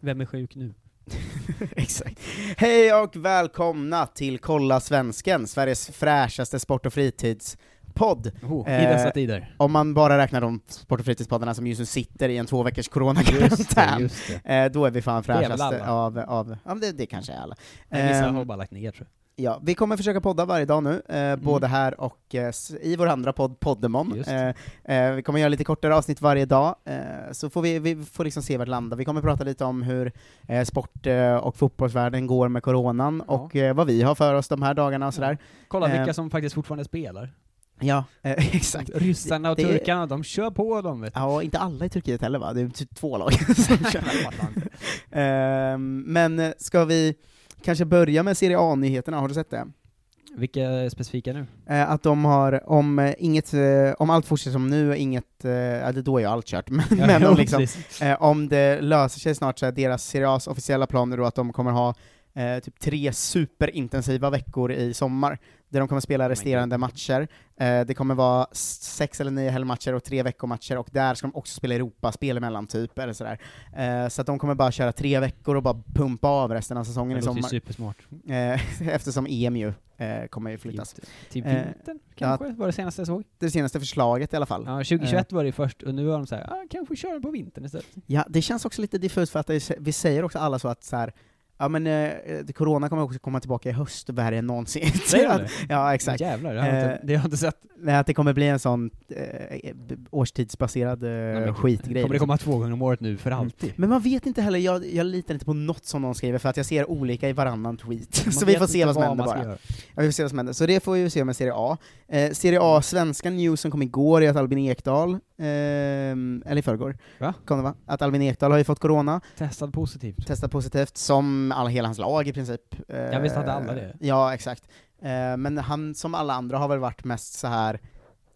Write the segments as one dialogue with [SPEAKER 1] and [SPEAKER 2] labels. [SPEAKER 1] Vem är sjuk nu?
[SPEAKER 2] Exakt. Hej och välkomna till Kolla Svensken, Sveriges fräschaste sport och fritidspodd.
[SPEAKER 1] I
[SPEAKER 2] Eh,
[SPEAKER 1] dessa tider.
[SPEAKER 2] Om man bara räknar de sport och fritidspoddarna som just nu sitter i en två veckors coronakarantän,
[SPEAKER 1] just det.
[SPEAKER 2] eh, då är vi fan
[SPEAKER 1] är väl
[SPEAKER 2] fräschaste
[SPEAKER 1] alla.
[SPEAKER 2] av, av, ja men det, det kanske är alla.
[SPEAKER 1] Nej, vissa
[SPEAKER 2] Ehm,
[SPEAKER 1] har bara lagt ner tror
[SPEAKER 2] Ja, vi kommer försöka podda varje dag nu, eh, både här och eh, s- i vår andra podd, Poddemon.
[SPEAKER 1] Mm. Just
[SPEAKER 2] Eh, eh, vi kommer göra lite kortare avsnitt varje dag, eh, så får vi, vi får liksom se vart det landar. Vi kommer prata lite om hur eh, sport eh, och fotbollsvärlden går med coronan,
[SPEAKER 1] Ja.
[SPEAKER 2] och eh, vad vi har för oss de här dagarna och sådär.
[SPEAKER 1] jag. Kolla
[SPEAKER 2] eh,
[SPEAKER 1] vilka som faktiskt fortfarande spelar.
[SPEAKER 2] Ja, eh, exakt.
[SPEAKER 1] Ryssarna och
[SPEAKER 2] Det- det-
[SPEAKER 1] turkarna, de kör på dem vet du.
[SPEAKER 2] Ja, inte alla i Turkiet heller va? Det är typ två lag som kör. Eh, men eh, ska vi kanske börja med Serie A-nyheterna, har du sett det?
[SPEAKER 1] Vilka är specifika nu?
[SPEAKER 2] Eh, att de har, om, eh, inget, eh, om allt fortsätter som nu, inget, eh, ja, det- då är ju allt kört, men, men om, liksom, eh, om det löser sig snart så är deras Serie A's officiella planer då att de kommer ha eh, typ tre superintensiva veckor i sommar, där de kommer spela resterande matcher. Eh, det kommer vara s- sex eller nio helgmatcher och tre veckomatcher, och där ska de också spela Europaspel emellan, typ, eller sådär. Eh, så att de kommer bara köra tre veckor och bara pumpa av resten av säsongen
[SPEAKER 1] Det
[SPEAKER 2] i
[SPEAKER 1] låter ju
[SPEAKER 2] sommar,
[SPEAKER 1] supersmart.
[SPEAKER 2] eh, eftersom EM ju eh, kommer ju flyttas.
[SPEAKER 1] Typ Till
[SPEAKER 2] Eh,
[SPEAKER 1] vintern kanske, var det senaste jag såg.
[SPEAKER 2] Det senaste förslaget i alla fall.
[SPEAKER 1] Ja, 2021 var det ju först, och nu har de såhär, ah, kanske kör den på vintern istället.
[SPEAKER 2] Eh. Ja, det känns också lite diffust för att det, vi säger också alla så att så här, ja men eh, corona kommer också komma tillbaka i höst värre än någonsin.
[SPEAKER 1] Säger de
[SPEAKER 2] Att-
[SPEAKER 1] det?
[SPEAKER 2] ja, exakt.
[SPEAKER 1] Jävlar, det har, jag inte,
[SPEAKER 2] Eh,
[SPEAKER 1] det har jag inte sett.
[SPEAKER 2] Nej, att det kommer bli en sån eh, årstidsbaserad eh,
[SPEAKER 1] men-
[SPEAKER 2] skitgrej.
[SPEAKER 1] Kommer det komma två gånger om året nu
[SPEAKER 2] Mm.
[SPEAKER 1] för alltid?
[SPEAKER 2] Men man vet inte heller, jag, jag litar inte på något som någon skriver för att jag ser olika i varannan tweet.
[SPEAKER 1] Man
[SPEAKER 2] så vi
[SPEAKER 1] vet
[SPEAKER 2] får se
[SPEAKER 1] inte
[SPEAKER 2] vad som händer
[SPEAKER 1] man ska
[SPEAKER 2] bara.
[SPEAKER 1] göra.
[SPEAKER 2] Ja, vi får se vad som händer. Så det får vi ju se med Serie A. Eh, Serie A, svenska newsen kom igår, i att Albin Ekdal, ehm, eller i förrgår,
[SPEAKER 1] Va?
[SPEAKER 2] kom det va? Att Albin Ekdal har ju fått corona.
[SPEAKER 1] Testad positivt.
[SPEAKER 2] testat positivt, som all, hela hans lag i princip. Eh,
[SPEAKER 1] Ja, visst hade alla det?
[SPEAKER 2] Ja, exakt. Eh, men han, som alla andra, har väl varit mest så här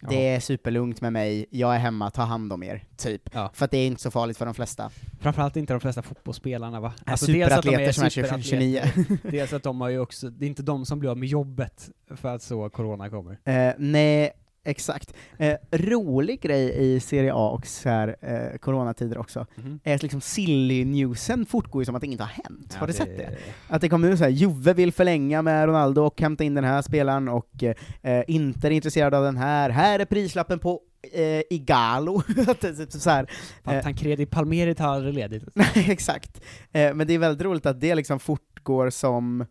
[SPEAKER 1] Ja.
[SPEAKER 2] det är superlugnt med mig, jag är hemma, ta hand om er, typ.
[SPEAKER 1] Ja. Alltså,
[SPEAKER 2] För att det är inte så farligt för de flesta. Alltså,
[SPEAKER 1] Framförallt inte de flesta fotbollsspelarna va? Alltså,
[SPEAKER 2] superatleter som är 25,
[SPEAKER 1] superatleter,
[SPEAKER 2] 29.
[SPEAKER 1] dels att de har ju också, det är inte de som blir av med jobbet för att så corona kommer.
[SPEAKER 2] Eh, nej, exakt. Eh, rolig grej i Serie A och så här, eh, coronatider också, är att liksom silly-newsen fortgår ju som att inget har hänt. har du sett det? Att det kommer ut såhär, Juve vill förlänga med Ronaldo och hämta in den här spelaren, och eh, Inter är intresserad av den här, här är prislappen på eh, Igalo. Att det är typ så här.
[SPEAKER 1] Fan,
[SPEAKER 2] Eh.
[SPEAKER 1] Tancredi Palmeri tar aldrig ledigt.
[SPEAKER 2] Nej, Exakt. Eh, men det är väldigt roligt att det liksom fortgår som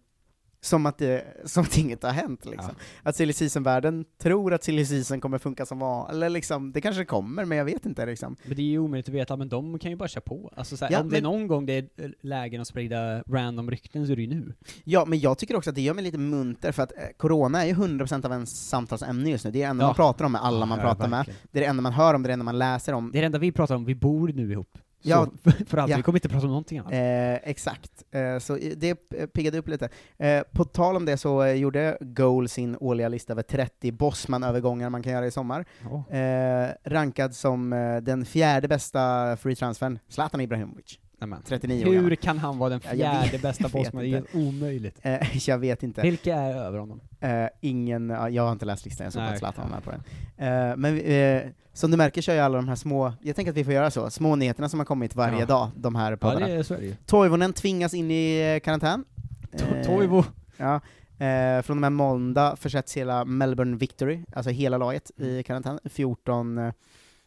[SPEAKER 2] som att, det, som att inget har hänt liksom. Att silly season-världen tror att silly season kommer funka som vanligt, eller liksom, det kanske kommer, men jag vet inte liksom.
[SPEAKER 1] Men det är ju omöjligt att veta, men de kan ju bara köra på. Alltså, såhär,
[SPEAKER 2] Ja,
[SPEAKER 1] om det är
[SPEAKER 2] men-
[SPEAKER 1] någon gång det är eh, lägen att sprida random rykten så är det ju nu.
[SPEAKER 2] Ja, men jag tycker också att det gör mig lite munter, för att eh, corona är ju 100% av ens samtalsämne just nu, det är det enda
[SPEAKER 1] Ja.
[SPEAKER 2] man pratar om med alla man
[SPEAKER 1] Ja,
[SPEAKER 2] pratar med.
[SPEAKER 1] verkligen.
[SPEAKER 2] Det är det enda man hör om, det är det enda man läser om.
[SPEAKER 1] Det är det enda vi pratar om, vi bor nu ihop.
[SPEAKER 2] Ja.
[SPEAKER 1] Ja, så, för, för alltid,
[SPEAKER 2] Ja.
[SPEAKER 1] vi kommer inte prata om någonting annat.
[SPEAKER 2] Eh, exakt. Eh, så i- det eh, piggade upp lite. Eh, på tal om det så eh, gjorde Goal sin årliga lista över 30 Bosman-övergångar man kan göra i sommar.
[SPEAKER 1] Ja.
[SPEAKER 2] Eh, rankad som eh, den fjärde bästa free transfern, Zlatan Ibrahimovic.
[SPEAKER 1] Nämen.
[SPEAKER 2] 39 år
[SPEAKER 1] Hur
[SPEAKER 2] gammal.
[SPEAKER 1] kan han vara den
[SPEAKER 2] Ja, jag vet-
[SPEAKER 1] fjärde bästa
[SPEAKER 2] jag vet
[SPEAKER 1] bossman? Det är ju omöjligt.
[SPEAKER 2] Eh, jag vet inte.
[SPEAKER 1] Vilka är över honom?
[SPEAKER 2] Eh, ingen, ja, jag har inte läst listan, jag såg
[SPEAKER 1] Nej,
[SPEAKER 2] att
[SPEAKER 1] okej.
[SPEAKER 2] Zlatan var med på den. Eh, men eh, som du märker kör jag alla de här små, jag tänker att vi får göra så, små nyheterna som har kommit varje
[SPEAKER 1] Ja.
[SPEAKER 2] dag, de här
[SPEAKER 1] Ja,
[SPEAKER 2] poddarna.
[SPEAKER 1] det är, så är det ju.
[SPEAKER 2] Toivonen tvingas in i eh, karantän.
[SPEAKER 1] To-
[SPEAKER 2] Eh,
[SPEAKER 1] Toivo.
[SPEAKER 2] Ja. Eh, från och med måndag försätts hela Melbourne Victory, alltså hela laget,
[SPEAKER 1] Mm.
[SPEAKER 2] i karantän. 14, eh,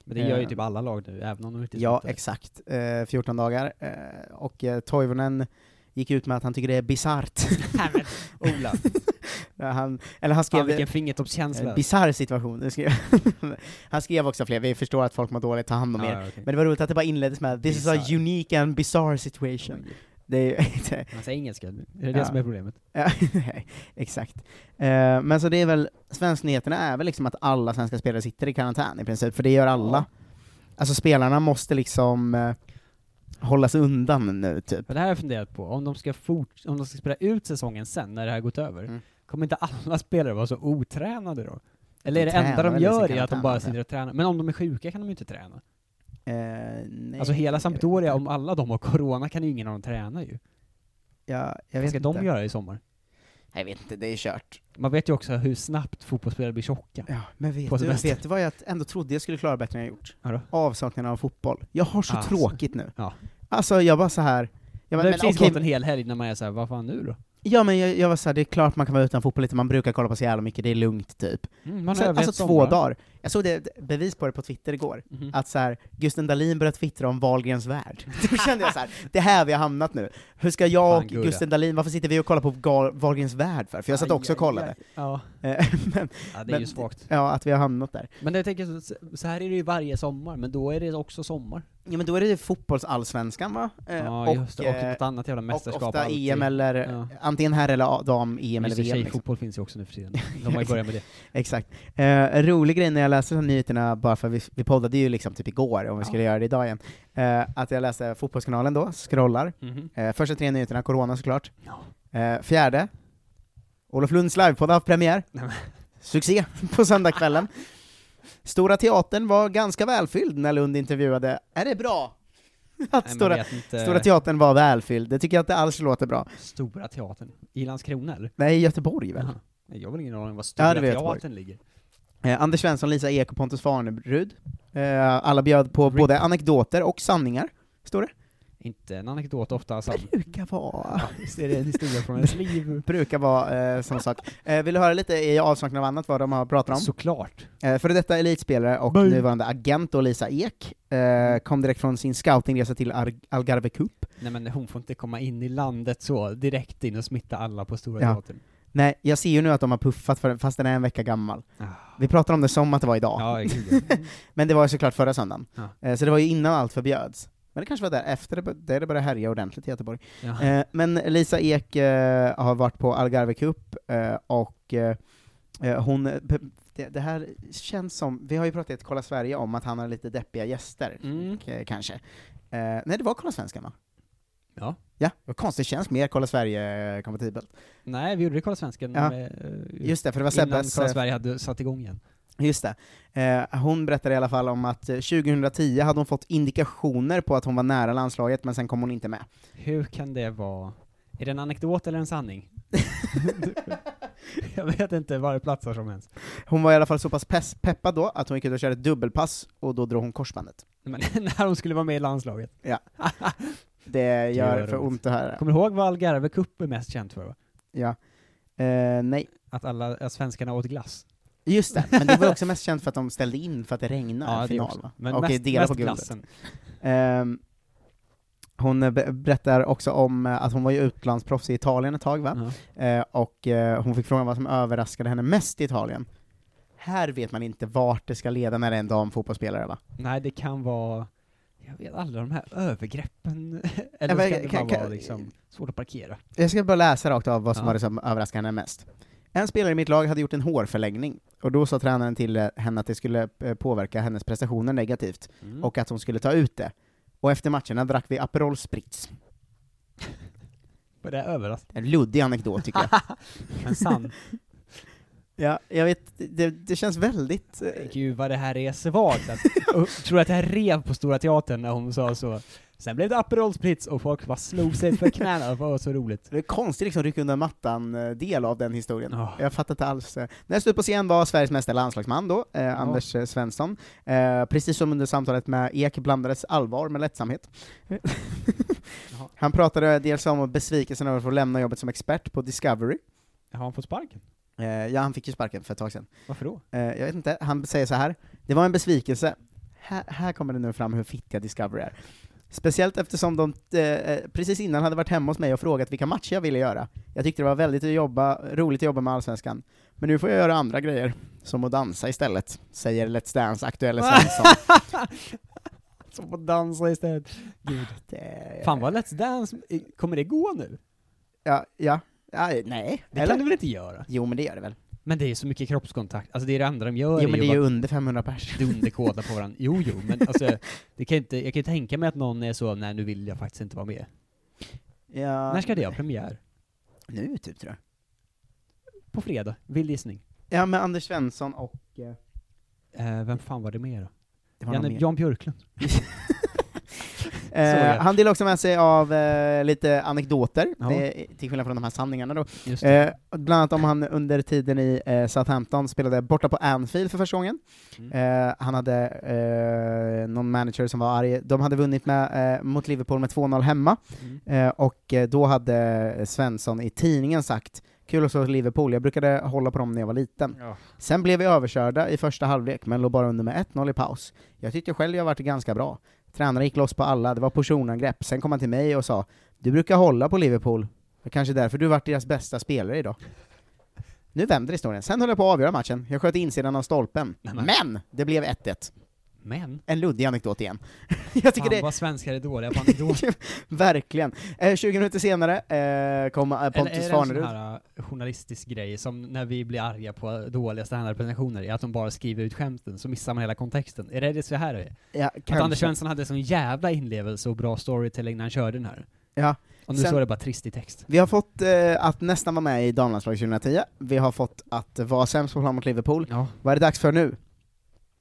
[SPEAKER 1] Men det gör ju typ alla lag nu, även om de inte är
[SPEAKER 2] ja
[SPEAKER 1] smittade.
[SPEAKER 2] exakt, eh, 14 dagar. Eh, och eh, Toivonen gick ut med att han tycker det är bisarrt.
[SPEAKER 1] Ola,
[SPEAKER 2] Ja, han, eller
[SPEAKER 1] fan
[SPEAKER 2] han skrev
[SPEAKER 1] vilken
[SPEAKER 2] det.
[SPEAKER 1] fingertoppskänsla.
[SPEAKER 2] Eh, Bisarr situation. det skrev- han skrev också fler, vi förstår att folk mår dåligt, ta hand om er.
[SPEAKER 1] ja, okej.
[SPEAKER 2] Men det var roligt att det bara inleddes med 'This is a
[SPEAKER 1] Bizarre.
[SPEAKER 2] unique and bizarre situation' Det är ju, det,
[SPEAKER 1] Han säger engelska, nu. är det
[SPEAKER 2] Ja.
[SPEAKER 1] det som är problemet?
[SPEAKER 2] Ja, nej, exakt. Eh, men så det är väl, svensknyheterna är väl liksom att alla svenska spelare sitter i karantän i princip, för det gör alla. Alltså spelarna måste liksom eh, hållas undan nu typ.
[SPEAKER 1] Men det här har jag funderat på, om de ska, fort, om de ska spela ut säsongen sen, när det här gått över,
[SPEAKER 2] Mm.
[SPEAKER 1] kommer inte alla spelare vara så otränade då? Eller är det
[SPEAKER 2] De tränar
[SPEAKER 1] enda de
[SPEAKER 2] väl i sin
[SPEAKER 1] gör är att de
[SPEAKER 2] karantän,
[SPEAKER 1] bara
[SPEAKER 2] antar jag.
[SPEAKER 1] sitter och tränar? Men om de är sjuka kan de ju inte träna.
[SPEAKER 2] Eh, nej,
[SPEAKER 1] Alltså hela Sampdoria,
[SPEAKER 2] jag vet
[SPEAKER 1] om alla de har corona kan ju ingen av dem träna ju.
[SPEAKER 2] inte. Ja, jag
[SPEAKER 1] Vad
[SPEAKER 2] vet
[SPEAKER 1] ska
[SPEAKER 2] inte.
[SPEAKER 1] de göra i sommar?
[SPEAKER 2] Jag vet inte, det är kört.
[SPEAKER 1] Man vet ju också hur snabbt fotbollsspelare blir tjocka.
[SPEAKER 2] Ja, men
[SPEAKER 1] På
[SPEAKER 2] vet du,
[SPEAKER 1] semester.
[SPEAKER 2] vet du vad jag ändå trodde jag skulle klara bättre än jag gjort?
[SPEAKER 1] Vadå?
[SPEAKER 2] Avsaknaden av fotboll. Jag har så
[SPEAKER 1] Alltså.
[SPEAKER 2] tråkigt nu.
[SPEAKER 1] Ja.
[SPEAKER 2] Alltså jag bara så här. Ja,
[SPEAKER 1] det har
[SPEAKER 2] men,
[SPEAKER 1] ju
[SPEAKER 2] men,
[SPEAKER 1] precis
[SPEAKER 2] okej,
[SPEAKER 1] gått en hel helg när man är såhär, vad fan nu då?
[SPEAKER 2] ja, men jag, jag var såhär, det är klart man kan vara utan fotboll lite, man brukar kolla på så jävla mycket, det är lugnt typ.
[SPEAKER 1] Mm, man har
[SPEAKER 2] Sen,
[SPEAKER 1] övergett
[SPEAKER 2] alltså två
[SPEAKER 1] sommaren.
[SPEAKER 2] dagar. Jag såg det, bevis på det på Twitter igår,
[SPEAKER 1] Mhm.
[SPEAKER 2] att så här, Gusten Dahlin började twittra om Wahlgrens värld. Då kände jag så här, det här vi har hamnat nu. Hur ska jag
[SPEAKER 1] Fan,
[SPEAKER 2] och
[SPEAKER 1] gurra.
[SPEAKER 2] Gusten Dahlin, varför sitter vi och kollar på Gal- Wahlgrens värld för? För jag satt
[SPEAKER 1] Aj,
[SPEAKER 2] också och
[SPEAKER 1] aj,
[SPEAKER 2] kollade.
[SPEAKER 1] aj. Ja.
[SPEAKER 2] Eh,
[SPEAKER 1] ja,
[SPEAKER 2] men,
[SPEAKER 1] det är
[SPEAKER 2] Men-
[SPEAKER 1] ju svagt.
[SPEAKER 2] ja, att vi har hamnat där.
[SPEAKER 1] Men jag tänker, så- så- så här är det ju varje sommar, men då är det också sommar.
[SPEAKER 2] Ja men då är det fotbollsallsvenskan va? Eh,
[SPEAKER 1] Ja, just det. Och
[SPEAKER 2] eh,
[SPEAKER 1] något annat jävla
[SPEAKER 2] och
[SPEAKER 1] mästerskap.
[SPEAKER 2] ofta E
[SPEAKER 1] alltid.
[SPEAKER 2] EM eller,
[SPEAKER 1] Ja.
[SPEAKER 2] antingen här eller a- dam, EM
[SPEAKER 1] Men i och
[SPEAKER 2] eller
[SPEAKER 1] för sig,
[SPEAKER 2] VM. Liksom.
[SPEAKER 1] fotboll finns ju också nu för tiden. De har ju börjat med det.
[SPEAKER 2] Exakt. Eh, rolig grej när jag läste de här nyheterna, bara för vi, vi poddade ju liksom typ igår, om vi
[SPEAKER 1] Ja.
[SPEAKER 2] skulle göra det idag igen, eh, att jag läste Fotbollskanalen då, scrollar.
[SPEAKER 1] Mhm.
[SPEAKER 2] Eh, första tre nyheterna, corona såklart.
[SPEAKER 1] Ja.
[SPEAKER 2] Eh, fjärde, Olof Lunds livepodd har haft premiär.
[SPEAKER 1] Nej, men.
[SPEAKER 2] Succé på söndagskvällen. Stora Teatern var ganska välfylld när Lund intervjuade. Är det bra? Att
[SPEAKER 1] Nej, men
[SPEAKER 2] Stora,
[SPEAKER 1] vet eh, inte.
[SPEAKER 2] Stora Teatern var välfylld, det tycker jag inte alls låter bra.
[SPEAKER 1] Stora teatern. I Landskrona eller?
[SPEAKER 2] Nej, Göteborg väl?
[SPEAKER 1] Jaha. Nej, Jag har väl ingen aning var Stora
[SPEAKER 2] Ja, det vet jag.
[SPEAKER 1] teatern ligger.
[SPEAKER 2] Eh, Anders Svensson, Lisa Ek och Pontus Farnerud. Eh, alla bjöd på både anekdoter och sanningar, står det.
[SPEAKER 1] Inte en anekdot ofta alltså.
[SPEAKER 2] Brukar vara.
[SPEAKER 1] Ja, visst är det en historia från ens liv?
[SPEAKER 2] Brukar vara eh, samma sak. Eh, vill du höra lite i avsaknad av annat vad de har pratat om?
[SPEAKER 1] Såklart.
[SPEAKER 2] Eh, före detta elitspelare och
[SPEAKER 1] Böj.
[SPEAKER 2] nuvarande agent då Lisa Ek eh, kom direkt från sin scoutingresa till Ar- Algarve Cup.
[SPEAKER 1] Nej men hon får inte komma in i landet så, direkt in och smitta alla på Stora
[SPEAKER 2] Ja.
[SPEAKER 1] teatern.
[SPEAKER 2] Nej, jag ser ju nu att de har puffat för den, fast den är en vecka gammal.
[SPEAKER 1] Ah.
[SPEAKER 2] Vi pratar om det som att det var idag,
[SPEAKER 1] Ja, gud, ja.
[SPEAKER 2] men det var ju såklart förra söndagen.
[SPEAKER 1] Ja.
[SPEAKER 2] Eh, så det var ju innan allt förbjöds. Men det kanske var där efter det, bör- där det började härja ordentligt i Göteborg.
[SPEAKER 1] ja.
[SPEAKER 2] Eh, men Lisa Ek eh, har varit på Algarve Cup eh, och eh, eh, hon... Det, det här känns som... Vi har ju pratat i ett Kolla Sverige om att han har lite deppiga gäster.
[SPEAKER 1] Mm.
[SPEAKER 2] eh, kanske. Eh, nej, det var Kolla Svenskan va?
[SPEAKER 1] Ja.
[SPEAKER 2] Ja, vad konstigt, känns mer Kolla eh, Sverige-kompatibelt.
[SPEAKER 1] Nej, vi gjorde det i Kolla Svensken
[SPEAKER 2] Ja.
[SPEAKER 1] med, eh,
[SPEAKER 2] Just det, för det var
[SPEAKER 1] innan
[SPEAKER 2] Sebbes...
[SPEAKER 1] Kolla Sverige hade satt igång igen.
[SPEAKER 2] Just det. Eh, hon berättade i alla fall om att eh, 2010 hade hon fått indikationer på att hon var nära landslaget, men sen kom hon inte med.
[SPEAKER 1] Hur kan det vara? Är det en anekdot eller en sanning? jag vet inte var det platsar som ens.
[SPEAKER 2] Hon var i alla fall så pass pes- peppad då att hon gick ut och körde ett dubbelpass, och då drog hon korsbandet.
[SPEAKER 1] Men när hon skulle vara med i landslaget.
[SPEAKER 2] Det gör
[SPEAKER 1] gör
[SPEAKER 2] för
[SPEAKER 1] ont.
[SPEAKER 2] ont att höra.
[SPEAKER 1] Kommer du ihåg vad Algarve Cup är mest känt för? Va?
[SPEAKER 2] Ja. Eh, nej.
[SPEAKER 1] Att alla att svenskarna åt glass.
[SPEAKER 2] Just det, men det var också mest känt för att de ställde in för att det regnade
[SPEAKER 1] det
[SPEAKER 2] final
[SPEAKER 1] också.
[SPEAKER 2] va?
[SPEAKER 1] Men
[SPEAKER 2] Okej,
[SPEAKER 1] mest,
[SPEAKER 2] dela
[SPEAKER 1] mest
[SPEAKER 2] på guldet.
[SPEAKER 1] glassen.
[SPEAKER 2] Ehm, hon eh, be- berättar också om eh, att hon var ju utlandsproffs i Italien ett tag, va?
[SPEAKER 1] Ja.
[SPEAKER 2] Eh, och eh, hon fick frågan vad som överraskade henne mest i Italien. Här vet man inte vart det ska leda när det är en damfotbollsspelare, va?
[SPEAKER 1] Nej, det kan vara... Jag vet alla de här övergreppen.
[SPEAKER 2] Ja,
[SPEAKER 1] eller
[SPEAKER 2] men
[SPEAKER 1] så kan det
[SPEAKER 2] kan-
[SPEAKER 1] bara vara
[SPEAKER 2] kan-
[SPEAKER 1] liksom svårt att parkera.
[SPEAKER 2] Jag ska bara läsa rakt av vad som
[SPEAKER 1] Ja.
[SPEAKER 2] var det som överraskade henne mest. En spelare i mitt lag hade gjort en hårförlängning, och då sa tränaren till eh, henne att det skulle eh, påverka hennes prestationer negativt,
[SPEAKER 1] Mm.
[SPEAKER 2] och att hon skulle ta ut det. Och efter matcherna drack vi Aperol Spritz.
[SPEAKER 1] Var det överraskande?
[SPEAKER 2] En luddig anekdot, tycker jag.
[SPEAKER 1] Men sann.
[SPEAKER 2] ja, jag vet, det, det känns väldigt... eh,
[SPEAKER 1] Gud vad det här är svagt. Alltså. Och Tror du att det här rev på Stora Teatern när hon sa så? Sen blev det Aperol Spritz och folk bara slog sig för knäna, det var så roligt.
[SPEAKER 2] Det är konstigt liksom rycka undan mattan-del av den historien.
[SPEAKER 1] Ja.
[SPEAKER 2] Jag fattar inte alls. eh. Näst upp på scen var Sveriges mesta landslagsman då, eh, Anders eh, Svensson. Eh, precis som under samtalet med Ek blandades allvar med lättsamhet.
[SPEAKER 1] Jaha.
[SPEAKER 2] Han pratade dels om besvikelsen över att få lämna jobbet som expert på Discovery.
[SPEAKER 1] Har han fått sparken?
[SPEAKER 2] Eh, ja, han fick ju sparken för ett tag sedan.
[SPEAKER 1] Varför då?
[SPEAKER 2] Eh, jag vet inte, han säger så här. Det var en besvikelse. Här, här kommer det nu fram hur fittiga Discovery är. Speciellt eftersom de eh, eh, precis innan hade varit hemma hos mig och frågat vilka matcher jag ville göra. Jag tyckte det var väldigt att jobba, roligt att jobba med Allsvenskan. Men nu får jag göra andra grejer, som att dansa istället, säger Let's Dance aktuelle Svensson.
[SPEAKER 1] Som får dansa istället. Gud.
[SPEAKER 2] Det-
[SPEAKER 1] Fan vad Let's Dance, kommer det gå nu?
[SPEAKER 2] Ja, ja, ja nej.
[SPEAKER 1] Det
[SPEAKER 2] Eller?
[SPEAKER 1] kan du väl inte göra?
[SPEAKER 2] Jo men det gör det väl?
[SPEAKER 1] Men det är så mycket kroppskontakt, alltså det är det andra de gör
[SPEAKER 2] Jo men det är ju
[SPEAKER 1] ju
[SPEAKER 2] under 500 pers.
[SPEAKER 1] bara dunderkåta på varandra. Jo, jo, men alltså, det kan inte, jag kan ju tänka mig att någon är så, nej nu vill jag faktiskt inte vara med.
[SPEAKER 2] Ja,
[SPEAKER 1] När ska det ha premiär?
[SPEAKER 2] Nu typ tror jag.
[SPEAKER 1] På fredag, vild gissning.
[SPEAKER 2] Ja men Anders Svensson och... eh,
[SPEAKER 1] Eh, vem fan var det mer då?
[SPEAKER 2] Det var någon
[SPEAKER 1] Janne,
[SPEAKER 2] mer.
[SPEAKER 1] Jan Björklund. är det.
[SPEAKER 2] Eh, han delar också med sig av eh, lite anekdoter,
[SPEAKER 1] Ja.
[SPEAKER 2] det, till skillnad från de här sanningarna då.
[SPEAKER 1] Just det.
[SPEAKER 2] Eh, bland annat om han under tiden i eh, Southampton spelade borta på Anfield för första gången.
[SPEAKER 1] Mm.
[SPEAKER 2] Eh, han hade eh, någon manager som var arg. De hade vunnit med, eh, mot Liverpool med 2-0 hemma,
[SPEAKER 1] Mm.
[SPEAKER 2] eh, och eh, då hade Svensson i tidningen sagt Kul att slå Liverpool, jag brukade hålla på dem när jag var liten.
[SPEAKER 1] Ja.
[SPEAKER 2] Sen blev vi överkörda i första halvlek, men låg bara under med 1-0 i paus. Jag tyckte själv jag varit ganska bra. Tränaren gick loss på alla, det var personangrepp. Sen kom han till mig och sa ”Du brukar hålla på Liverpool, det är kanske därför du varit deras bästa spelare idag”. Nu vänder historien. Sen höll jag på att avgöra matchen. Jag sköt insidan av stolpen.
[SPEAKER 1] Nämen.
[SPEAKER 2] Men! Det blev 1-1.
[SPEAKER 1] Men,
[SPEAKER 2] En luddig anekdot igen. jag
[SPEAKER 1] fan
[SPEAKER 2] tycker det...
[SPEAKER 1] vad svenskar är dåliga på anekdoter.
[SPEAKER 2] Verkligen. Eh, 20 minuter senare eh, kom eh,
[SPEAKER 1] Eller är
[SPEAKER 2] Pontus
[SPEAKER 1] det en sån
[SPEAKER 2] Farnerud.
[SPEAKER 1] här eh, journalistisk grej, som när vi blir arga på dåliga standardpresentationer, är att de bara skriver ut skämten, så missar man hela kontexten. Är det det så här det är?
[SPEAKER 2] Ja,
[SPEAKER 1] Att Anders
[SPEAKER 2] kanske.
[SPEAKER 1] Svensson hade sån jävla inlevelse och bra storytelling när han körde den här.
[SPEAKER 2] Ja.
[SPEAKER 1] Och nu
[SPEAKER 2] Sen-
[SPEAKER 1] står det bara trist i text.
[SPEAKER 2] Vi har fått eh, att nästan vara med i damlandslaget 2010, vi har fått att vara sämst på plan mot Liverpool.
[SPEAKER 1] Ja.
[SPEAKER 2] Vad är det dags för nu?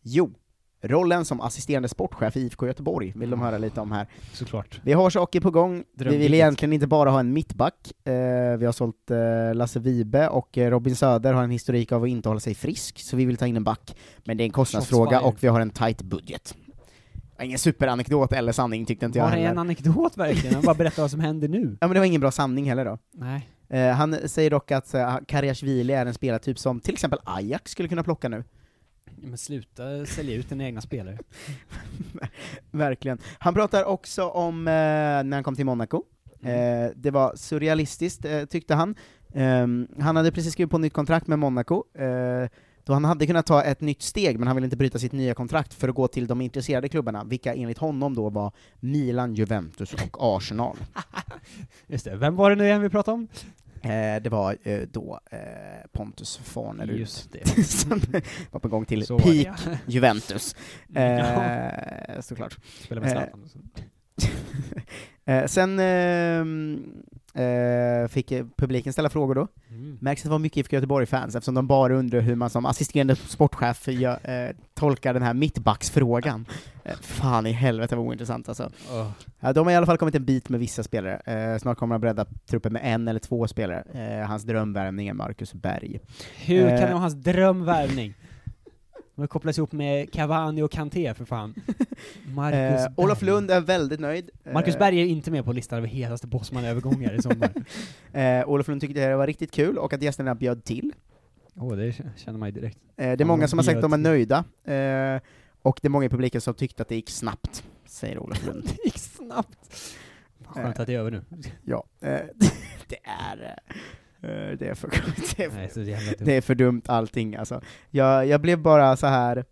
[SPEAKER 2] Jo, rollen som assisterande sportchef i IFK Göteborg vill de höra lite om här.
[SPEAKER 1] Såklart.
[SPEAKER 2] Vi har saker på gång, vi
[SPEAKER 1] Drömgigget.
[SPEAKER 2] vill egentligen inte bara ha en mittback, eh, vi har sålt eh, Lasse Vibe och eh, Robin Söder har en historik av att inte hålla sig frisk, så vi vill ta in en back. Men det är en kostnadsfråga
[SPEAKER 1] fired.
[SPEAKER 2] och vi har en tight budget. Ingen superanekdot eller sanning tyckte inte jag
[SPEAKER 1] Var det
[SPEAKER 2] heller.
[SPEAKER 1] en anekdot verkligen? Han bara berättar vad som händer nu.
[SPEAKER 2] Ja men det var ingen bra sanning heller då.
[SPEAKER 1] Nej.
[SPEAKER 2] Eh, han säger dock att uh, Karjashvili är en spelartyp som till exempel Ajax skulle kunna plocka nu.
[SPEAKER 1] Men sluta sälja ut dina egna spelare.
[SPEAKER 2] Verkligen. Han pratar också om eh, när han kom till Monaco.
[SPEAKER 1] Mm.
[SPEAKER 2] Eh, det var surrealistiskt, eh, tyckte han. Ehm, han hade precis skrivit på nytt kontrakt med Monaco, eh, då han hade kunnat ta ett nytt steg, men han ville inte bryta sitt nya kontrakt för att gå till de intresserade klubbarna, vilka enligt honom då var Milan, Juventus och Arsenal.
[SPEAKER 1] Just det. Vem var det nu igen vi pratade om?
[SPEAKER 2] Eh, det var eh, då eh, Pontus Farnerud.
[SPEAKER 1] Just det.
[SPEAKER 2] Som var på gång till
[SPEAKER 1] Så var det,
[SPEAKER 2] peak
[SPEAKER 1] ja.
[SPEAKER 2] Juventus.
[SPEAKER 1] Ja.
[SPEAKER 2] Eh, såklart.
[SPEAKER 1] Spela med
[SPEAKER 2] eh,
[SPEAKER 1] Zlatan. och så.
[SPEAKER 2] Eh, sen ehm, eh, fick eh, publiken ställa frågor då.
[SPEAKER 1] Mm.
[SPEAKER 2] Märks att det var mycket IFK Göteborg-fans eftersom de bara undrar hur man som assisterande sportchef gör, eh, tolkar den här mittbacksfrågan. Eh, fan i helvete vad ointressant alltså.
[SPEAKER 1] Åh.
[SPEAKER 2] Ja, de har i alla fall kommit en bit med vissa spelare. Eh, snart kommer han bredda truppen med en eller två spelare. Eh, hans drömvärvning är Marcus Berg.
[SPEAKER 1] Hur kan
[SPEAKER 2] Eh.
[SPEAKER 1] det vara hans drömvärvning? De kopplas ihop med Cavani och Kanté för fan. Marcus
[SPEAKER 2] Eh, Olof
[SPEAKER 1] Berg.
[SPEAKER 2] Lund är väldigt nöjd.
[SPEAKER 1] Marcus
[SPEAKER 2] Eh,
[SPEAKER 1] Berg är inte med på listan över hetaste Bosman-övergångar i sommar.
[SPEAKER 2] Eh, Olof Lund tyckte det var riktigt kul och att gästerna bjöd till.
[SPEAKER 1] Åh, det känner man ju direkt.
[SPEAKER 2] Eh, det är
[SPEAKER 1] Ja,
[SPEAKER 2] många
[SPEAKER 1] de
[SPEAKER 2] som har sagt att de är
[SPEAKER 1] bjöd
[SPEAKER 2] nöjda, eh, och det är många i publiken som tyckte att det gick snabbt, säger Olof Lund.
[SPEAKER 1] Det gick snabbt.
[SPEAKER 2] Eh.
[SPEAKER 1] Skönt att det är över nu.
[SPEAKER 2] ja, eh, det är... Eh, det är för det är
[SPEAKER 1] Nej,
[SPEAKER 2] för,
[SPEAKER 1] så jävla dumt.
[SPEAKER 2] det är för dumt allting alltså. Jag, jag blev bara så här.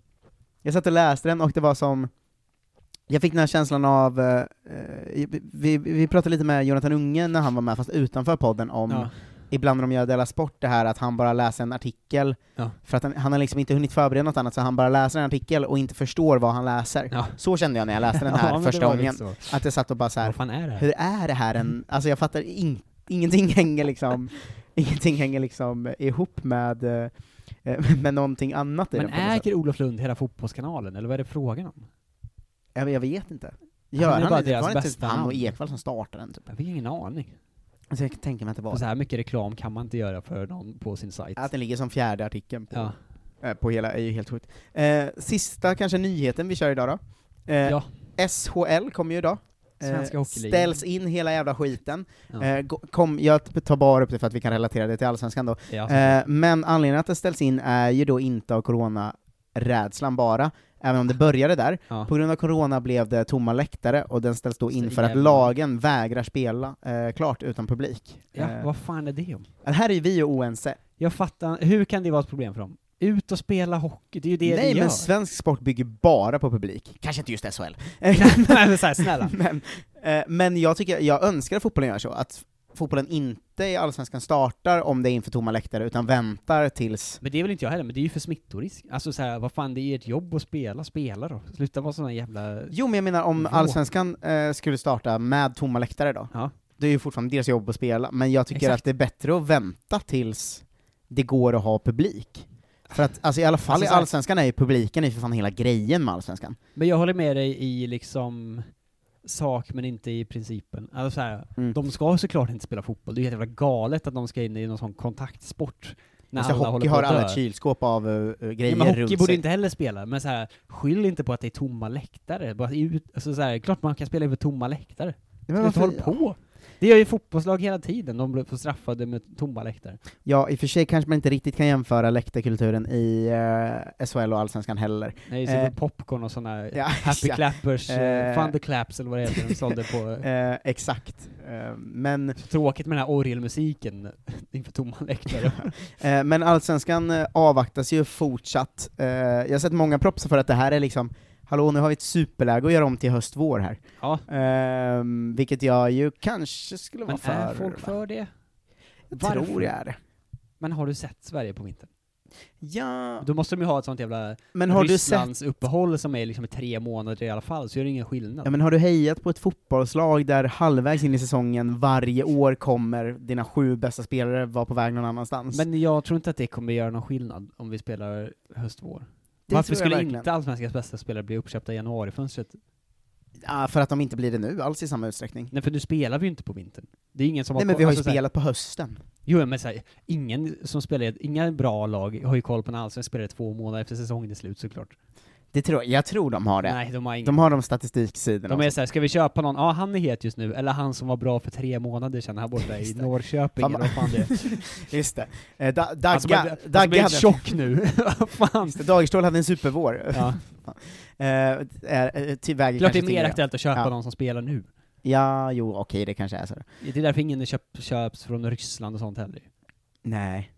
[SPEAKER 2] jag satt och läste den och det var som jag fick den här känslan av, eh, eh, vi, vi pratade lite med Jonathan Unge när han var med, fast utanför podden, om
[SPEAKER 1] Ja.
[SPEAKER 2] ibland när de gör Della Sport det här att han bara läser en artikel,
[SPEAKER 1] Ja.
[SPEAKER 2] för att han, han har liksom inte hunnit förbereda något annat, så han bara läser en artikel och inte förstår vad han läser.
[SPEAKER 1] Ja.
[SPEAKER 2] Så kände jag när jag läste den
[SPEAKER 1] Ja,
[SPEAKER 2] här
[SPEAKER 1] men det
[SPEAKER 2] första
[SPEAKER 1] var liksom-
[SPEAKER 2] gången,
[SPEAKER 1] lite så.
[SPEAKER 2] att jag satt och bara så här.
[SPEAKER 1] Vad fan är det här?
[SPEAKER 2] hur är det här en, alltså jag fattar in, ingenting hänger liksom, ingenting hänger liksom ihop med, eh, med någonting annat i
[SPEAKER 1] Men
[SPEAKER 2] den på något sätt.
[SPEAKER 1] äger Olof Lund hela Fotbollskanalen, eller vad är det frågan om?
[SPEAKER 2] jag, jag vet inte.
[SPEAKER 1] är
[SPEAKER 2] Gör han,
[SPEAKER 1] bara
[SPEAKER 2] det?
[SPEAKER 1] deras
[SPEAKER 2] Var det typ
[SPEAKER 1] bästa
[SPEAKER 2] han och
[SPEAKER 1] namn.
[SPEAKER 2] Ekwall som startade den typ?
[SPEAKER 1] Jag har ingen aning.
[SPEAKER 2] Alltså jag tänker mig att det var
[SPEAKER 1] För så här mycket reklam kan man inte göra för någon på sin sajt.
[SPEAKER 2] att den ligger som fjärde artikeln på
[SPEAKER 1] Ja.
[SPEAKER 2] Eh, på hela är ju helt sjukt. Eh, sista kanske nyheten vi kör idag då. Eh,
[SPEAKER 1] Ja.
[SPEAKER 2] SHL kommer ju idag. Eh,
[SPEAKER 1] Svenska Hockeyligan.
[SPEAKER 2] Ställs in hela jävla skiten.
[SPEAKER 1] Ja.
[SPEAKER 2] Eh, gå- kom, jag tar bara upp det för att vi kan relatera det till Allsvenskan då.
[SPEAKER 1] Ja,
[SPEAKER 2] Eh, men anledningen att det ställs in är ju då inte av coronarädslan bara, även om det började där.
[SPEAKER 1] ja.
[SPEAKER 2] På grund av corona blev det tomma läktare och den ställs då
[SPEAKER 1] Så
[SPEAKER 2] in för att
[SPEAKER 1] jävla-
[SPEAKER 2] lagen vägrar spela eh, klart utan publik.
[SPEAKER 1] ja,
[SPEAKER 2] eh,
[SPEAKER 1] vad fan är det om?
[SPEAKER 2] det här är ju vi ju oense.
[SPEAKER 1] Jag fattar Hur kan det vara ett problem för dem? Ut och spela hockey, det är ju det
[SPEAKER 2] Nej
[SPEAKER 1] vi
[SPEAKER 2] men
[SPEAKER 1] gör.
[SPEAKER 2] svensk sport bygger bara på publik. Kanske inte just SHL.
[SPEAKER 1] Nej, men så här, snälla.
[SPEAKER 2] men, eh, men jag, tycker, jag önskar att fotbollen gör så, att fotbollen inte i Allsvenskan startar om det är inför tomma läktare, utan väntar tills...
[SPEAKER 1] Men det är väl inte jag heller, men det är ju för smittorisk. Alltså så här, vad fan, det är ju ett jobb att spela, spela då. Sluta vara såna jävla...
[SPEAKER 2] Jo, men jag menar om
[SPEAKER 1] Jo.
[SPEAKER 2] Allsvenskan eh, skulle starta med tomma läktare då,
[SPEAKER 1] Ja.
[SPEAKER 2] det är ju fortfarande deras jobb att spela, men jag tycker
[SPEAKER 1] Exakt.
[SPEAKER 2] att det är bättre att vänta tills det går att ha publik. För att, alltså i alla fall
[SPEAKER 1] Alltså, så
[SPEAKER 2] i
[SPEAKER 1] här-
[SPEAKER 2] Allsvenskan är ju publiken är ju för fan hela grejen med Allsvenskan.
[SPEAKER 1] Men jag håller med dig i liksom sak men inte i principen. Alltså så här,
[SPEAKER 2] Mm.
[SPEAKER 1] De ska såklart inte spela fotboll, det är helt jävla galet att de ska in i någon sån kontaktsport. När
[SPEAKER 2] Just det,
[SPEAKER 1] alla
[SPEAKER 2] Alltså, hockey
[SPEAKER 1] håller på
[SPEAKER 2] har
[SPEAKER 1] att dö.
[SPEAKER 2] alla ett kylskåp av eh, grejer
[SPEAKER 1] Ja, men hockey
[SPEAKER 2] runt
[SPEAKER 1] borde
[SPEAKER 2] sig.
[SPEAKER 1] inte heller spela, men så här, skyll inte på att det är tomma läktare. Bara ut, alltså så här, klart man kan spela över tomma läktare.
[SPEAKER 2] Nej,
[SPEAKER 1] Men
[SPEAKER 2] men
[SPEAKER 1] inte
[SPEAKER 2] varför-
[SPEAKER 1] håll på! Det gör ju fotbollslag hela tiden, de blir straffade med tomma läktare.
[SPEAKER 2] Ja, i och för sig kanske man inte riktigt kan jämföra läktarkulturen i eh, SHL och Allsvenskan heller.
[SPEAKER 1] Det är ju som
[SPEAKER 2] Eh.
[SPEAKER 1] popcorn och såna
[SPEAKER 2] Ja,
[SPEAKER 1] happy
[SPEAKER 2] exakt.
[SPEAKER 1] clappers, eh,
[SPEAKER 2] Eh.
[SPEAKER 1] thunderclaps eller vad det heter de sålde på.
[SPEAKER 2] Eh, exakt. Eh, men,
[SPEAKER 1] Så tråkigt med den här orgelmusiken inför tomma läktare.
[SPEAKER 2] eh, men Allsvenskan eh, avvaktas ju fortsatt. Eh, jag har sett många propsar för att det här är liksom, hallå nu har vi ett superläge att göra om till höst-vår här.
[SPEAKER 1] ja.
[SPEAKER 2] Eh, vilket jag ju kanske skulle vara
[SPEAKER 1] Men
[SPEAKER 2] för.
[SPEAKER 1] är folk
[SPEAKER 2] va?
[SPEAKER 1] för det?
[SPEAKER 2] Jag
[SPEAKER 1] Varför?
[SPEAKER 2] tror jag är det.
[SPEAKER 1] Men har du sett Sverige på vintern?
[SPEAKER 2] Ja,
[SPEAKER 1] Då måste de ju ha ett sånt jävla
[SPEAKER 2] men har du sett
[SPEAKER 1] Rysslands uppehåll som är liksom i tre månader i alla fall, så gör det ingen skillnad.
[SPEAKER 2] Ja, men har du hejat på ett fotbollslag där halvvägs in i säsongen varje år kommer dina sju bästa spelare vara på väg någon annanstans?
[SPEAKER 1] Men jag tror inte att det kommer göra någon skillnad om vi spelar höst-vår.
[SPEAKER 2] Det
[SPEAKER 1] Varför
[SPEAKER 2] tror jag
[SPEAKER 1] skulle
[SPEAKER 2] verkligen.
[SPEAKER 1] inte Allsvenskans bästa spelare bli uppköpta i januarifönstret?
[SPEAKER 2] Ja, för att de inte blir det nu alls i samma utsträckning.
[SPEAKER 1] Nej för nu spelar vi ju inte på vintern. Det är ingen som
[SPEAKER 2] Nej men vi har ju
[SPEAKER 1] alltså, så här-
[SPEAKER 2] spelat på hösten.
[SPEAKER 1] Jo men så här, ingen som spelar, i ett- inga bra lag har ju koll på när Allsvenskan spelar i två månader efter säsongen är slut såklart.
[SPEAKER 2] Det tror jag, jag tror de har det.
[SPEAKER 1] Nej de har ingen.
[SPEAKER 2] De har de statistiksidorna.
[SPEAKER 1] De är såhär, ska vi köpa någon? Ja, han är het just nu, eller han som var bra för tre månader sedan här borta i
[SPEAKER 2] Just det.
[SPEAKER 1] Norrköping,
[SPEAKER 2] Fan,
[SPEAKER 1] eller vad fan det är. Alltså,
[SPEAKER 2] Just det. Eh, da, Dagga,
[SPEAKER 1] Han som är, han som
[SPEAKER 2] Dagge
[SPEAKER 1] är helt
[SPEAKER 2] hade...
[SPEAKER 1] tjock nu. Vad fan.
[SPEAKER 2] Just det, Dagerstål hade en supervår. Ja.
[SPEAKER 1] Ja. Klart
[SPEAKER 2] Tyvärr kanske
[SPEAKER 1] det är mer
[SPEAKER 2] till-
[SPEAKER 1] aktuellt att köpa
[SPEAKER 2] Ja.
[SPEAKER 1] någon som spelar nu.
[SPEAKER 2] Ja, jo, okej, det kanske är så.
[SPEAKER 1] Det är därför ingen köp, köps från Ryssland och sånt heller.
[SPEAKER 2] Nej.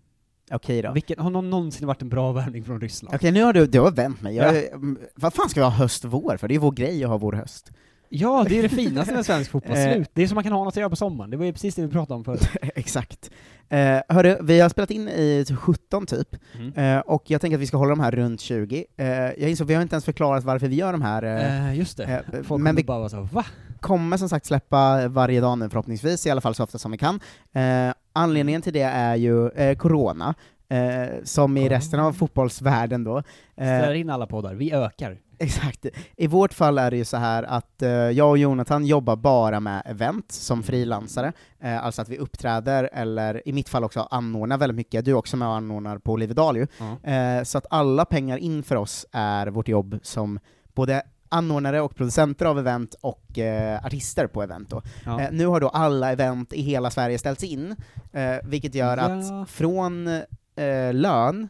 [SPEAKER 2] Okej då.
[SPEAKER 1] Vilken, har någon någonsin varit en bra värvning från Ryssland?
[SPEAKER 2] Okej, nu har du, du har vänt mig. Jag, mm, Vad fan ska vi ha höst-vår för? Det är ju vår grej att ha vår höst.
[SPEAKER 1] Ja, det är det finaste med svensk fotboll.
[SPEAKER 2] Eh.
[SPEAKER 1] Slut. Det är som man kan ha något att göra på sommaren. Det var ju precis det vi pratade om förut.
[SPEAKER 2] Exakt. Eh, hörru, vi har spelat in i 17 typ,
[SPEAKER 1] Mm.
[SPEAKER 2] eh, och jag tänker att vi ska hålla de här runt 20. Eh, jag insåg, vi har inte ens förklarat varför vi gör de här, eh,
[SPEAKER 1] Eh, just det.
[SPEAKER 2] eh,
[SPEAKER 1] Folk
[SPEAKER 2] men
[SPEAKER 1] kommer
[SPEAKER 2] vi
[SPEAKER 1] bara vara så va?
[SPEAKER 2] kommer som sagt släppa varje dag nu förhoppningsvis, i alla fall så ofta som vi kan. Eh, anledningen till det är ju eh, corona, eh, som i
[SPEAKER 1] Corona.
[SPEAKER 2] resten av fotbollsvärlden då. Eh,
[SPEAKER 1] Ställer in alla poddar. Vi ökar.
[SPEAKER 2] Exakt. I vårt fall är det ju så här att eh, jag och Jonathan jobbar bara med event som frilansare, eh, alltså att vi uppträder, eller i mitt fall också anordnar väldigt mycket, du är också med och anordnar på Olivedal ju.
[SPEAKER 1] Ja.
[SPEAKER 2] Eh, så att alla pengar in för oss är vårt jobb som både anordnare och producenter av event och eh, artister på event då.
[SPEAKER 1] Ja.
[SPEAKER 2] Eh, nu har då alla event i hela Sverige ställts in, eh, vilket gör
[SPEAKER 1] Ja.
[SPEAKER 2] att från eh, lön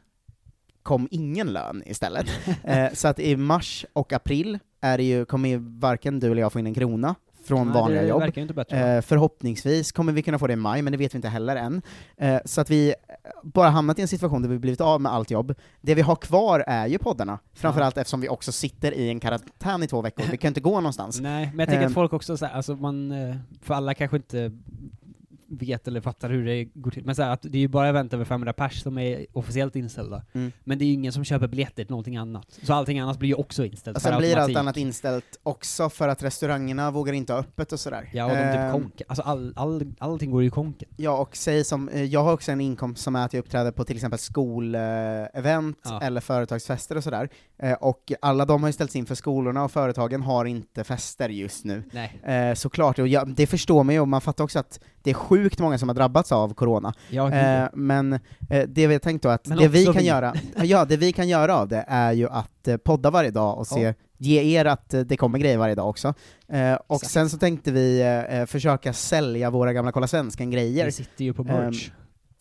[SPEAKER 2] kom ingen lön istället. eh, så att i mars och april är det ju, kommer ju varken du eller jag få in en krona från
[SPEAKER 1] Nej,
[SPEAKER 2] vanliga
[SPEAKER 1] det
[SPEAKER 2] jobb.
[SPEAKER 1] verkar ju inte bättre.
[SPEAKER 2] Eh, förhoppningsvis kommer vi kunna få det i maj, men det vet vi inte heller än. Eh, så att vi bara hamnat i en situation där vi blivit av med allt jobb. Det vi har kvar är ju poddarna, framförallt eftersom vi också sitter i en karantän i två veckor, vi kan inte gå någonstans.
[SPEAKER 1] Nej, men jag tänker
[SPEAKER 2] Ehm.
[SPEAKER 1] att folk också så här, alltså man, eh, för alla kanske inte vet eller fattar hur det går till, men så här, att det är ju bara event över 500 pers som är officiellt inställda.
[SPEAKER 2] Mm.
[SPEAKER 1] Men det är ju ingen som köper biljetter till någonting annat. Så allting annat blir ju också inställt
[SPEAKER 2] Och sen
[SPEAKER 1] per
[SPEAKER 2] blir allt
[SPEAKER 1] automatik.
[SPEAKER 2] annat inställt också för att restaurangerna vågar inte ha öppet och sådär.
[SPEAKER 1] Ja, och de typ
[SPEAKER 2] Ehm,
[SPEAKER 1] konken. Alltså all, all, allting går ju i konken.
[SPEAKER 2] Ja, och säg som, eh, jag har också en inkomst som är att jag uppträder på till exempel skolevent
[SPEAKER 1] Ja.
[SPEAKER 2] eller företagsfester och sådär. Eh, Och alla de har ju ställts in för skolorna och företagen har inte fester just nu.
[SPEAKER 1] Nej.
[SPEAKER 2] Eh, Såklart, och jag, det förstår man ju, och man fattar också att det är sjukt många som har drabbats av corona.
[SPEAKER 1] Ja,
[SPEAKER 2] Eh,
[SPEAKER 1] gud.
[SPEAKER 2] men eh, det vi har tänkt då att
[SPEAKER 1] Men
[SPEAKER 2] det vi
[SPEAKER 1] också
[SPEAKER 2] kan
[SPEAKER 1] vi.
[SPEAKER 2] göra, ja det vi kan göra av det är ju att eh, podda varje dag och se,
[SPEAKER 1] Ja.
[SPEAKER 2] ge er att eh, det kommer grejer varje dag också. Eh, och
[SPEAKER 1] Exakt.
[SPEAKER 2] sen så tänkte vi eh, eh, försöka sälja våra gamla Kolla Svensken-grejer.
[SPEAKER 1] vi sitter ju på
[SPEAKER 2] Ehm.
[SPEAKER 1] merch.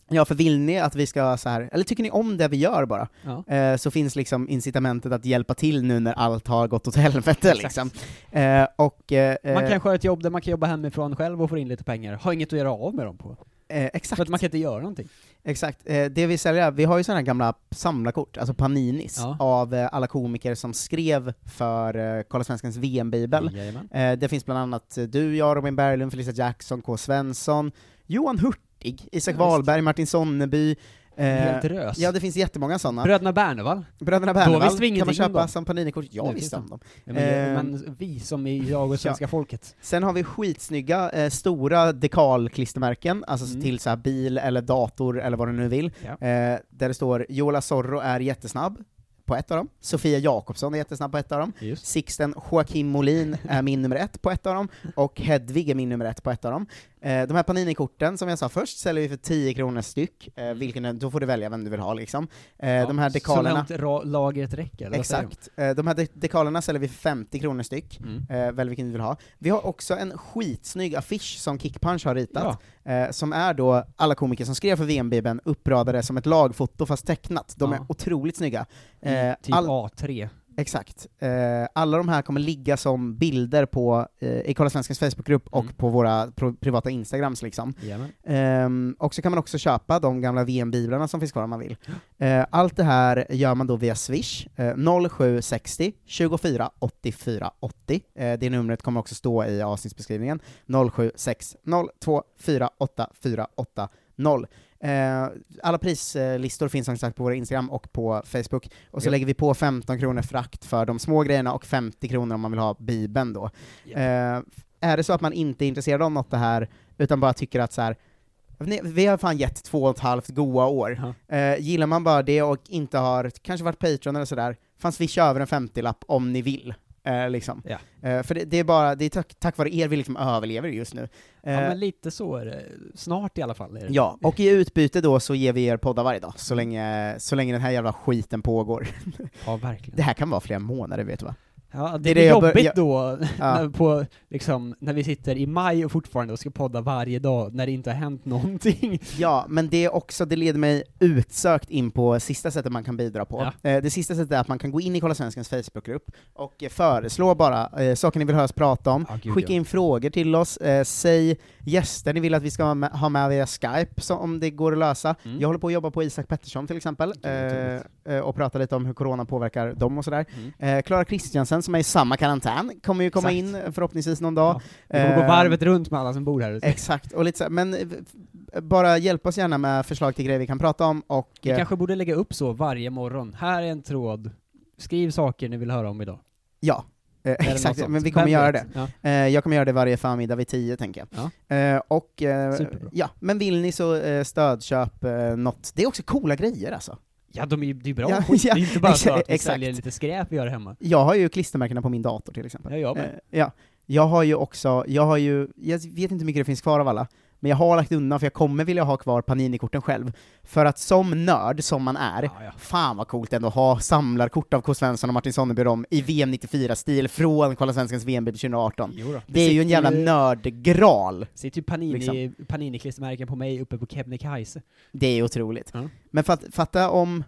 [SPEAKER 2] Ja, för vill ni att vi ska så här, eller tycker ni om det vi gör bara,
[SPEAKER 1] ja.
[SPEAKER 2] eh, så finns liksom incitamentet att hjälpa till nu när allt har gått åt helvete
[SPEAKER 1] Exakt.
[SPEAKER 2] liksom. Eh, och, eh,
[SPEAKER 1] Man kanske har ett jobb där man kan jobba hemifrån själv och få in lite pengar. Har inget att göra av med dem på.
[SPEAKER 2] eh,
[SPEAKER 1] För
[SPEAKER 2] exakt,
[SPEAKER 1] att man kan inte göra någonting.
[SPEAKER 2] exakt. Eh, det vi säljer, vi har ju sådana gamla samlarkort, alltså Paninis,
[SPEAKER 1] Ja.
[SPEAKER 2] av eh, alla komiker som skrev för eh, Kolla Svenskens VM-bibel.
[SPEAKER 1] Jajamän.
[SPEAKER 2] Eh, det finns bland annat eh, du, jag, Robin Berglund, Felicia Jackson, K. Svensson, Johan Hurtig, Isak
[SPEAKER 1] Ja,
[SPEAKER 2] Wahlberg, Martin Sonneby. Eh,
[SPEAKER 1] Helt rös.
[SPEAKER 2] ja, det finns jättemånga sådana.
[SPEAKER 1] Bröderna Bernevall.
[SPEAKER 2] Bröderna
[SPEAKER 1] Då visste vi
[SPEAKER 2] Bernevall kan
[SPEAKER 1] ingenting
[SPEAKER 2] man köpa
[SPEAKER 1] om dem.
[SPEAKER 2] som Panini-kort. Jag
[SPEAKER 1] Nej,
[SPEAKER 2] visste
[SPEAKER 1] just
[SPEAKER 2] om dem.
[SPEAKER 1] Ja, men,
[SPEAKER 2] Ehm.
[SPEAKER 1] men vi som är jag och svenska folket.
[SPEAKER 2] Sen har vi skitsnygga, eh, stora dekalklistermärken, alltså
[SPEAKER 1] Mm.
[SPEAKER 2] till så här bil eller dator eller vad du nu vill,
[SPEAKER 1] Ja.
[SPEAKER 2] eh, där det står “Jola Zorro är jättesnabb” på ett av dem, Sofia Jakobsson är jättesnabb på ett av dem,
[SPEAKER 1] Just.
[SPEAKER 2] Sixten Joakim Molin är min nummer ett på ett av dem, och Hedvig är min nummer ett på ett av dem. Eh, de här Panini-korten, som jag sa först, säljer vi för 10 kronor styck, eh, vilken, då får du välja vem du vill ha liksom. Eh,
[SPEAKER 1] Mm. Ja,
[SPEAKER 2] de här dekalerna...
[SPEAKER 1] Så långt ra- lagret räcker, eller vad säger
[SPEAKER 2] Exakt. Eh, De här de- dekalerna säljer vi för 50 kronor styck,
[SPEAKER 1] du? Mm.
[SPEAKER 2] eh, välj vilken du vill ha. Vi har också en skitsnygg affisch som Kickpunch har ritat,
[SPEAKER 1] Ja.
[SPEAKER 2] eh, som är då alla komiker som skrev för VM-bibeln uppradade som ett lagfoto fast tecknat. De
[SPEAKER 1] Ja.
[SPEAKER 2] är otroligt snygga.
[SPEAKER 1] i
[SPEAKER 2] Eh,
[SPEAKER 1] typ
[SPEAKER 2] all-
[SPEAKER 1] A3.
[SPEAKER 2] Exakt. Eh, alla de här kommer ligga som bilder på, eh, i Kolla Svenskans Facebookgrupp och
[SPEAKER 1] Mm.
[SPEAKER 2] på våra pro- privata Instagrams liksom.
[SPEAKER 1] Jajamän.
[SPEAKER 2] Ehm, och så kan man också köpa de gamla VM-biblarna som finns kvar om man vill. Eh, allt det här gör man då via Swish, eh, 0760 24 84 80. Eh, det numret kommer också stå i avsnittsbeskrivningen, 0760 248 480. Eh, alla prislistor finns som sagt på våra Instagram och på Facebook, och så
[SPEAKER 1] Ja.
[SPEAKER 2] lägger vi på 15 kronor frakt för de små grejerna och 50 kronor om man vill ha Bibeln då.
[SPEAKER 1] Ja.
[SPEAKER 2] Eh, är det så att man inte är intresserad av något det här, utan bara tycker att så här, ni- vi har fan gett två och ett halvt goa år. Eh, gillar man bara det och inte har kanske varit Patreon eller sådär, fan swisha över en 50-lapp om ni vill. Eh, liksom.
[SPEAKER 1] Ja.
[SPEAKER 2] eh, för det, det är bara, det är tack, tack vare er vi liksom överlever just nu. Eh,
[SPEAKER 1] Ja
[SPEAKER 2] ja,
[SPEAKER 1] men lite så är det. Snart i alla fall är det.
[SPEAKER 2] och i utbyte då så ger vi er poddar varje dag, så länge, så länge den här jävla skiten pågår.
[SPEAKER 1] Ja, verkligen.
[SPEAKER 2] Det här kan vara flera månader, vet du va?
[SPEAKER 1] Ja, det,
[SPEAKER 2] det
[SPEAKER 1] blir
[SPEAKER 2] är det jag bör-
[SPEAKER 1] jobbigt
[SPEAKER 2] jag-
[SPEAKER 1] då,
[SPEAKER 2] Ja.
[SPEAKER 1] när, på, liksom, när vi sitter i maj och fortfarande och ska podda varje dag, när det inte har hänt någonting.
[SPEAKER 2] Ja, men det är också, det leder mig utsökt in på sista sättet man kan bidra på. Eh, Det sista sättet är att man kan gå in i Kolla Svenskens Facebookgrupp och eh, föreslå bara eh, saker ni vill höra oss prata om.
[SPEAKER 1] Ja, gud,
[SPEAKER 2] Skicka
[SPEAKER 1] ja.
[SPEAKER 2] in frågor till oss, eh, säg gäster ni vill att vi ska ha med, ha med via Skype så, om det går att lösa.
[SPEAKER 1] Mm.
[SPEAKER 2] Jag håller på att jobba på Isak Pettersson till exempel,
[SPEAKER 1] Det är otroligt.
[SPEAKER 2] eh, eh, och prata lite om hur corona påverkar dem och sådär.
[SPEAKER 1] Mm.
[SPEAKER 2] Eh, Klara Kristiansen som är i samma karantän kommer ju komma
[SPEAKER 1] Exakt.
[SPEAKER 2] in eh, förhoppningsvis någon dag.
[SPEAKER 1] Vi kommer gå
[SPEAKER 2] Eh,
[SPEAKER 1] varvet runt med alla som bor här ute.
[SPEAKER 2] Exakt, och lite så, här- men eh, f- bara hjälp oss gärna med förslag till grejer vi kan prata om och...
[SPEAKER 1] Vi
[SPEAKER 2] eh,
[SPEAKER 1] kanske borde lägga upp så varje morgon. Här är en tråd. Skriv saker ni vill höra om idag.
[SPEAKER 2] Ja, eh,
[SPEAKER 1] Eller något
[SPEAKER 2] exakt,
[SPEAKER 1] sånt.
[SPEAKER 2] men vi kommer
[SPEAKER 1] Vem
[SPEAKER 2] göra det.
[SPEAKER 1] vet? Ja.
[SPEAKER 2] Eh, jag kommer göra det varje förmiddag vid 10, tänker jag. Eh, och, eh,
[SPEAKER 1] Superbra.
[SPEAKER 2] ja, men vill ni så eh, stödköp eh, något. Det är också coola grejer alltså.
[SPEAKER 1] Ja, de är ju, det är bra
[SPEAKER 2] Ja,
[SPEAKER 1] skit.
[SPEAKER 2] ja,
[SPEAKER 1] det är inte bara så
[SPEAKER 2] exa-
[SPEAKER 1] att vi
[SPEAKER 2] exakt.
[SPEAKER 1] säljer lite skräp vi gör hemma.
[SPEAKER 2] Jag har ju klistermärkena på min dator till exempel.
[SPEAKER 1] Ja, jag med.
[SPEAKER 2] Eh, ja. Jag har ju också, jag har ju, jag vet inte hur mycket det finns kvar av alla, men jag har lagt undan för jag kommer vilja ha kvar Panini-korten själv. För att som nörd, som man är,
[SPEAKER 1] Ja, ja.
[SPEAKER 2] fan vad coolt ändå att ha samlarkort av K. Svensson och Martin Sonneby och dem i VM 94-stil från Kolla Svenskens VM 2018.
[SPEAKER 1] Jo då.
[SPEAKER 2] Det är ju en jävla
[SPEAKER 1] sitter ju-
[SPEAKER 2] nördgral.
[SPEAKER 1] Sitter ju Panini,
[SPEAKER 2] liksom.
[SPEAKER 1] Panini-klistermärken på mig uppe på Kebnekaise.
[SPEAKER 2] Det är otroligt.
[SPEAKER 1] Ja.
[SPEAKER 2] Men fat, fatta om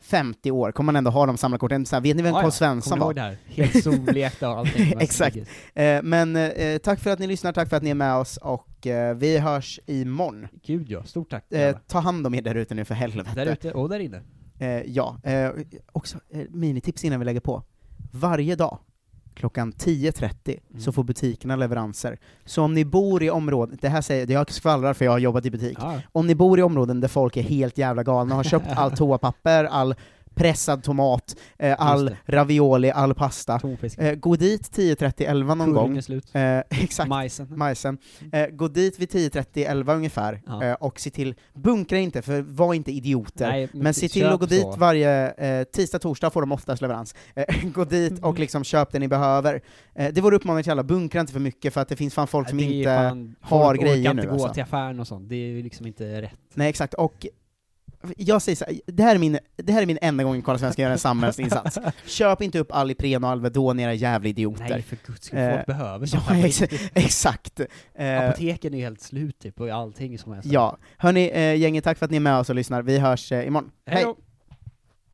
[SPEAKER 2] 50 år, kommer man ändå ha de samlarkorten, så här, vet ni vem
[SPEAKER 1] Ja,
[SPEAKER 2] K.
[SPEAKER 1] ja.
[SPEAKER 2] Svensson
[SPEAKER 1] Kommer du ihåg
[SPEAKER 2] var?
[SPEAKER 1] det här? Helt solblekta och allting.
[SPEAKER 2] Exakt. Eh, men eh, tack för att ni lyssnar, tack för att ni är med oss, och eh, vi hörs imorgon.
[SPEAKER 1] Gud ja, stort tack.
[SPEAKER 2] Eh,
[SPEAKER 1] grabbar.
[SPEAKER 2] ta hand om er där ute nu för helvete.
[SPEAKER 1] där ute och där inne.
[SPEAKER 2] Eh, ja, eh, också eh, minitips innan vi lägger på. Varje dag klockan 10.30 så
[SPEAKER 1] Mm.
[SPEAKER 2] får butikerna leveranser. Så om ni bor i områden, det här säger jag skvallrar för jag har jobbat i butik,
[SPEAKER 1] Ja.
[SPEAKER 2] om ni bor i områden där folk är helt jävla galna och har köpt allt toapapper, all pressad tomat, eh, all
[SPEAKER 1] det.
[SPEAKER 2] ravioli, all pasta,
[SPEAKER 1] Tonfisk.
[SPEAKER 2] eh, gå dit 10.30, 11 någon
[SPEAKER 1] Kurven
[SPEAKER 2] gång.
[SPEAKER 1] är slut.
[SPEAKER 2] Eh, exakt
[SPEAKER 1] Majsen.
[SPEAKER 2] majsen. Eh, gå dit vid 10.30, 11 ungefär,
[SPEAKER 1] Ja.
[SPEAKER 2] eh, och se till, bunkra inte, för var inte idioter.
[SPEAKER 1] Nej,
[SPEAKER 2] men
[SPEAKER 1] men
[SPEAKER 2] se
[SPEAKER 1] ty-
[SPEAKER 2] till att
[SPEAKER 1] köp
[SPEAKER 2] gå dit
[SPEAKER 1] så.
[SPEAKER 2] varje eh, tisdag, torsdag får de oftast leverans. Eh, gå dit
[SPEAKER 1] Mm-hmm.
[SPEAKER 2] och liksom köp det ni behöver. Eh, det är vår uppmaning till alla, bunkra inte för mycket för att det finns fan folk som
[SPEAKER 1] Det är
[SPEAKER 2] inte...
[SPEAKER 1] fan-
[SPEAKER 2] har
[SPEAKER 1] folk orkar
[SPEAKER 2] grejer
[SPEAKER 1] inte
[SPEAKER 2] nu,
[SPEAKER 1] gå
[SPEAKER 2] alltså.
[SPEAKER 1] till affären och sånt. Det är ju liksom inte rätt.
[SPEAKER 2] Nej exakt, och jag säger så här, det här är min, det här är min enda gång Karla Svenska gör en samhällsinsats. Köp inte upp Alipren och Alvedon, era jävla idioter.
[SPEAKER 1] Nej, för guds skull.
[SPEAKER 2] Eh,
[SPEAKER 1] Folk behöver sånt
[SPEAKER 2] ja,
[SPEAKER 1] här.
[SPEAKER 2] ex exakt. Eh,
[SPEAKER 1] Apoteken är ju helt slut typ, och allting som är så.
[SPEAKER 2] ja, hörni eh, gänget, tack för att ni är med oss och lyssnar. Vi hörs eh, imorgon.
[SPEAKER 1] Hej då!